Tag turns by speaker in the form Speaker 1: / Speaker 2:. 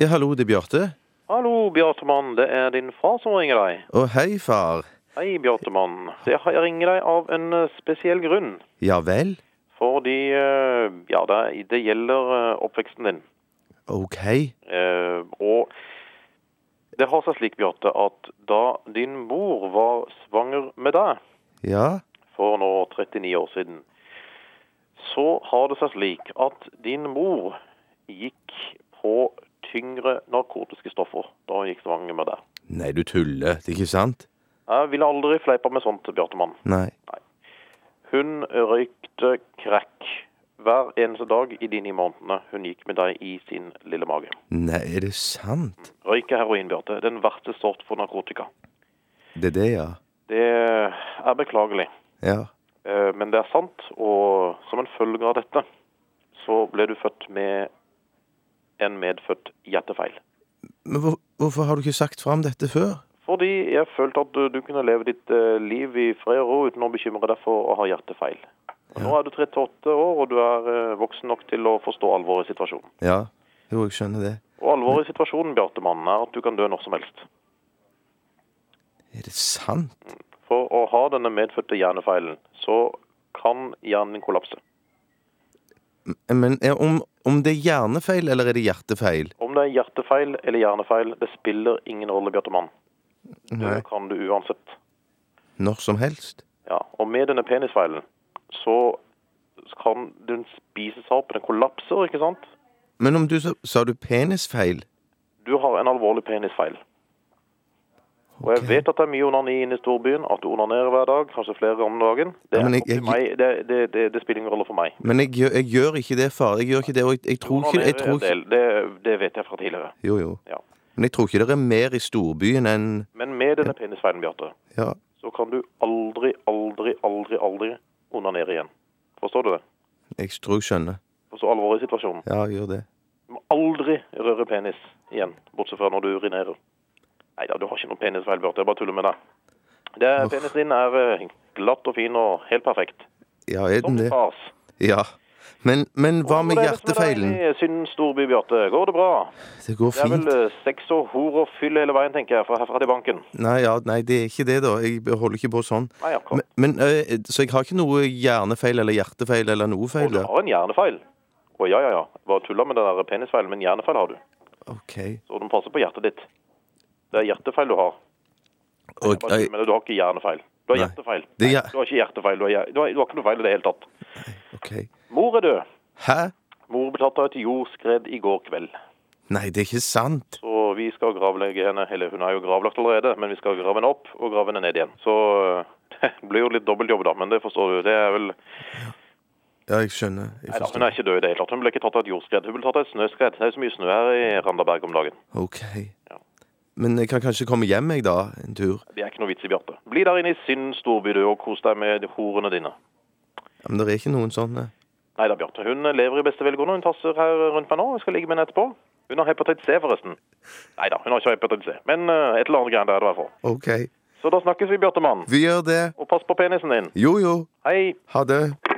Speaker 1: Ja, hallo, det er Bjarte.
Speaker 2: Hallo, Bjartemann. Det er din far som ringer deg.
Speaker 1: Å, hei, far.
Speaker 2: Hei, Bjartemann. Jeg har- jeg ringer deg av en eh, spesiell grunn.
Speaker 1: Ja vel?
Speaker 2: Fordi eh, Ja, det, det gjelder eh, oppveksten din.
Speaker 1: OK.
Speaker 2: Eh, Og det har seg slik, Bjarte, at da din mor var svanger med deg
Speaker 1: Ja.
Speaker 2: for nå 39 år siden, så har det seg slik at din mor gikk på tyngre narkotiske stoffer da hun gikk svanger med deg.
Speaker 1: Nei, du tuller. Det er ikke sant?
Speaker 2: Jeg ville aldri fleipa med sånt, Bjartemann.
Speaker 1: Nei.
Speaker 2: Hun røykte crack hver eneste dag i de ni månedene hun gikk med deg i sin lille mage.
Speaker 1: Nei, er det sant?
Speaker 2: Røyk er heroin, Bjarte. Den verste sort for narkotika.
Speaker 1: Det er det, ja.
Speaker 2: Det er beklagelig,
Speaker 1: Ja.
Speaker 2: eh, men det er sant. Og som en følge av dette så ble du født med en medfødt hjertefeil.
Speaker 1: Men hvor, hvorfor har du ikke sagt fra om dette før?
Speaker 2: Fordi jeg følte at du, du kunne leve ditt eh, liv i fred og ro uten å bekymre deg for å ha hjertefeil. Og Nå er du 38 år, og du er eh, voksen nok til å forstå alvoret i situasjonen.
Speaker 1: Ja. Jo, jeg skjønner det.
Speaker 2: Og alvoret i situasjonen, Bjartemann, er at du kan dø når som helst.
Speaker 1: Er det sant?
Speaker 2: For å ha denne medfødte hjernefeilen, så kan hjernen din kollapse.
Speaker 1: Men er, om, om det er hjernefeil, eller er det hjertefeil?
Speaker 2: Om det er hjertefeil eller hjernefeil, det spiller ingen rolle, Bjartemann. Dø
Speaker 1: Nei.
Speaker 2: kan du uansett.
Speaker 1: Når som helst?
Speaker 2: Ja, og med denne penisfeilen, så kan den spise seg opp, den kollapser, ikke sant?
Speaker 1: Men om du sa Sa du penisfeil?
Speaker 2: Du har en alvorlig penisfeil. Og jeg
Speaker 1: Ok.
Speaker 2: vet at det er mye onani inne i storbyen, at du onanerer hver dag, kanskje flere om dagen. Det,
Speaker 1: Ja, men
Speaker 2: er
Speaker 1: jeg- jeg-
Speaker 2: for meg, det, det, det, det spiller ingen rolle for meg.
Speaker 1: Men jeg, gjør- jeg gjør ikke det, far. Jeg gjør ikke det, og jeg, jeg tror ikke jeg
Speaker 2: Onanerer
Speaker 1: tror
Speaker 2: en
Speaker 1: ikke,
Speaker 2: del, det, det vet jeg fra tidligere.
Speaker 1: Jo, jo.
Speaker 2: Ja.
Speaker 1: Men jeg tror ikke det er mer i storbyen enn
Speaker 2: Men med denne penisfeilen, Bjarte,
Speaker 1: Ja.
Speaker 2: så kan du aldri, aldri, aldri, aldri onanere igjen. Forstår du det?
Speaker 1: Jeg tror jeg skjønner.
Speaker 2: Forstår alvoret i situasjonen.
Speaker 1: Ja, jeg gjør det.
Speaker 2: Du må aldri røre penis igjen, bortsett fra når du urinerer. Nei da, du har ikke noen penisfeil, Bjarte. Jeg bare tuller med deg. Det,
Speaker 1: Uff.
Speaker 2: penisen din er eh, glatt og fin og helt perfekt.
Speaker 1: Ja, er
Speaker 2: Som
Speaker 1: den det?
Speaker 2: fars.
Speaker 1: Ja. Men, men hva med
Speaker 2: Hvordan går det med deg
Speaker 1: hjertefeilen?
Speaker 2: i Synd storby, Bjarte. Går det bra?
Speaker 1: Det går
Speaker 2: Det er vel
Speaker 1: fint.
Speaker 2: eh, sex og hor og fyll hele veien, tenker jeg, fra herfra til banken.
Speaker 1: Nei, ja, nei, det er ikke det, da. Jeg holder ikke på sånn.
Speaker 2: Nei,
Speaker 1: Men,
Speaker 2: akkurat.
Speaker 1: men, eh, så jeg har ikke noe hjernefeil eller hjertefeil eller noe feil?
Speaker 2: Og du
Speaker 1: da?
Speaker 2: har en hjernefeil. Å ja, ja, ja. Bare tulla med den der penisfeilen, men hjernefeil har du.
Speaker 1: OK.
Speaker 2: Så du må passe på hjertet ditt. Det er hjertefeil du har. Jeg
Speaker 1: Og,
Speaker 2: bare tuller
Speaker 1: eh,
Speaker 2: med deg, du har ikke hjernefeil. Du har
Speaker 1: Nei.
Speaker 2: hjertefeil.
Speaker 1: Det er
Speaker 2: Nei,
Speaker 1: hjer-
Speaker 2: du har ikke hjertefeil. Du har, hjer- du har, du har ikke noe feil i det hele tatt.
Speaker 1: OK.
Speaker 2: Mor er død.
Speaker 1: Hæ?
Speaker 2: Mor ble tatt av et jordskred i går kveld.
Speaker 1: Nei, det er ikke sant.
Speaker 2: Så vi skal gravlegge henne. Eller hun er jo gravlagt allerede, men vi skal grave henne opp og grave henne ned igjen. Så øh, det blir jo litt dobbeltjobb, da. Men det forstår du. Det er vel
Speaker 1: Ja, jeg skjønner. Jeg
Speaker 2: Nei da, hun
Speaker 1: forstår.
Speaker 2: er ikke død i det hele tatt. Hun ble ikke tatt av et jordskred. Hun ble tatt av et snøskred. Det er jo så mye snø her i Randaberg om dagen.
Speaker 1: OK.
Speaker 2: Ja.
Speaker 1: Men jeg kan kanskje komme hjem, jeg, da? En tur?
Speaker 2: Det er ikke noe vits i, Bjarte. Bli der inne i sin storby, du, og kos deg med horene dine.
Speaker 1: Ja, men det er ikke noen sånne.
Speaker 2: Nei da, Bjarte. Hun lever i beste velgående. Hun tasser her rundt meg nå. Jeg skal ligge med henne etterpå. Hun har hepatitt C, forresten. Nei da, hun har ikke hepatitt C. Men eh, et eller annet greier der, i hvert fall.
Speaker 1: OK.
Speaker 2: Så da snakkes vi, Bjarte Mann.
Speaker 1: Vi gjør det.
Speaker 2: Og pass på penisen din.
Speaker 1: Jo, jo.
Speaker 2: Hei.
Speaker 1: Ha det.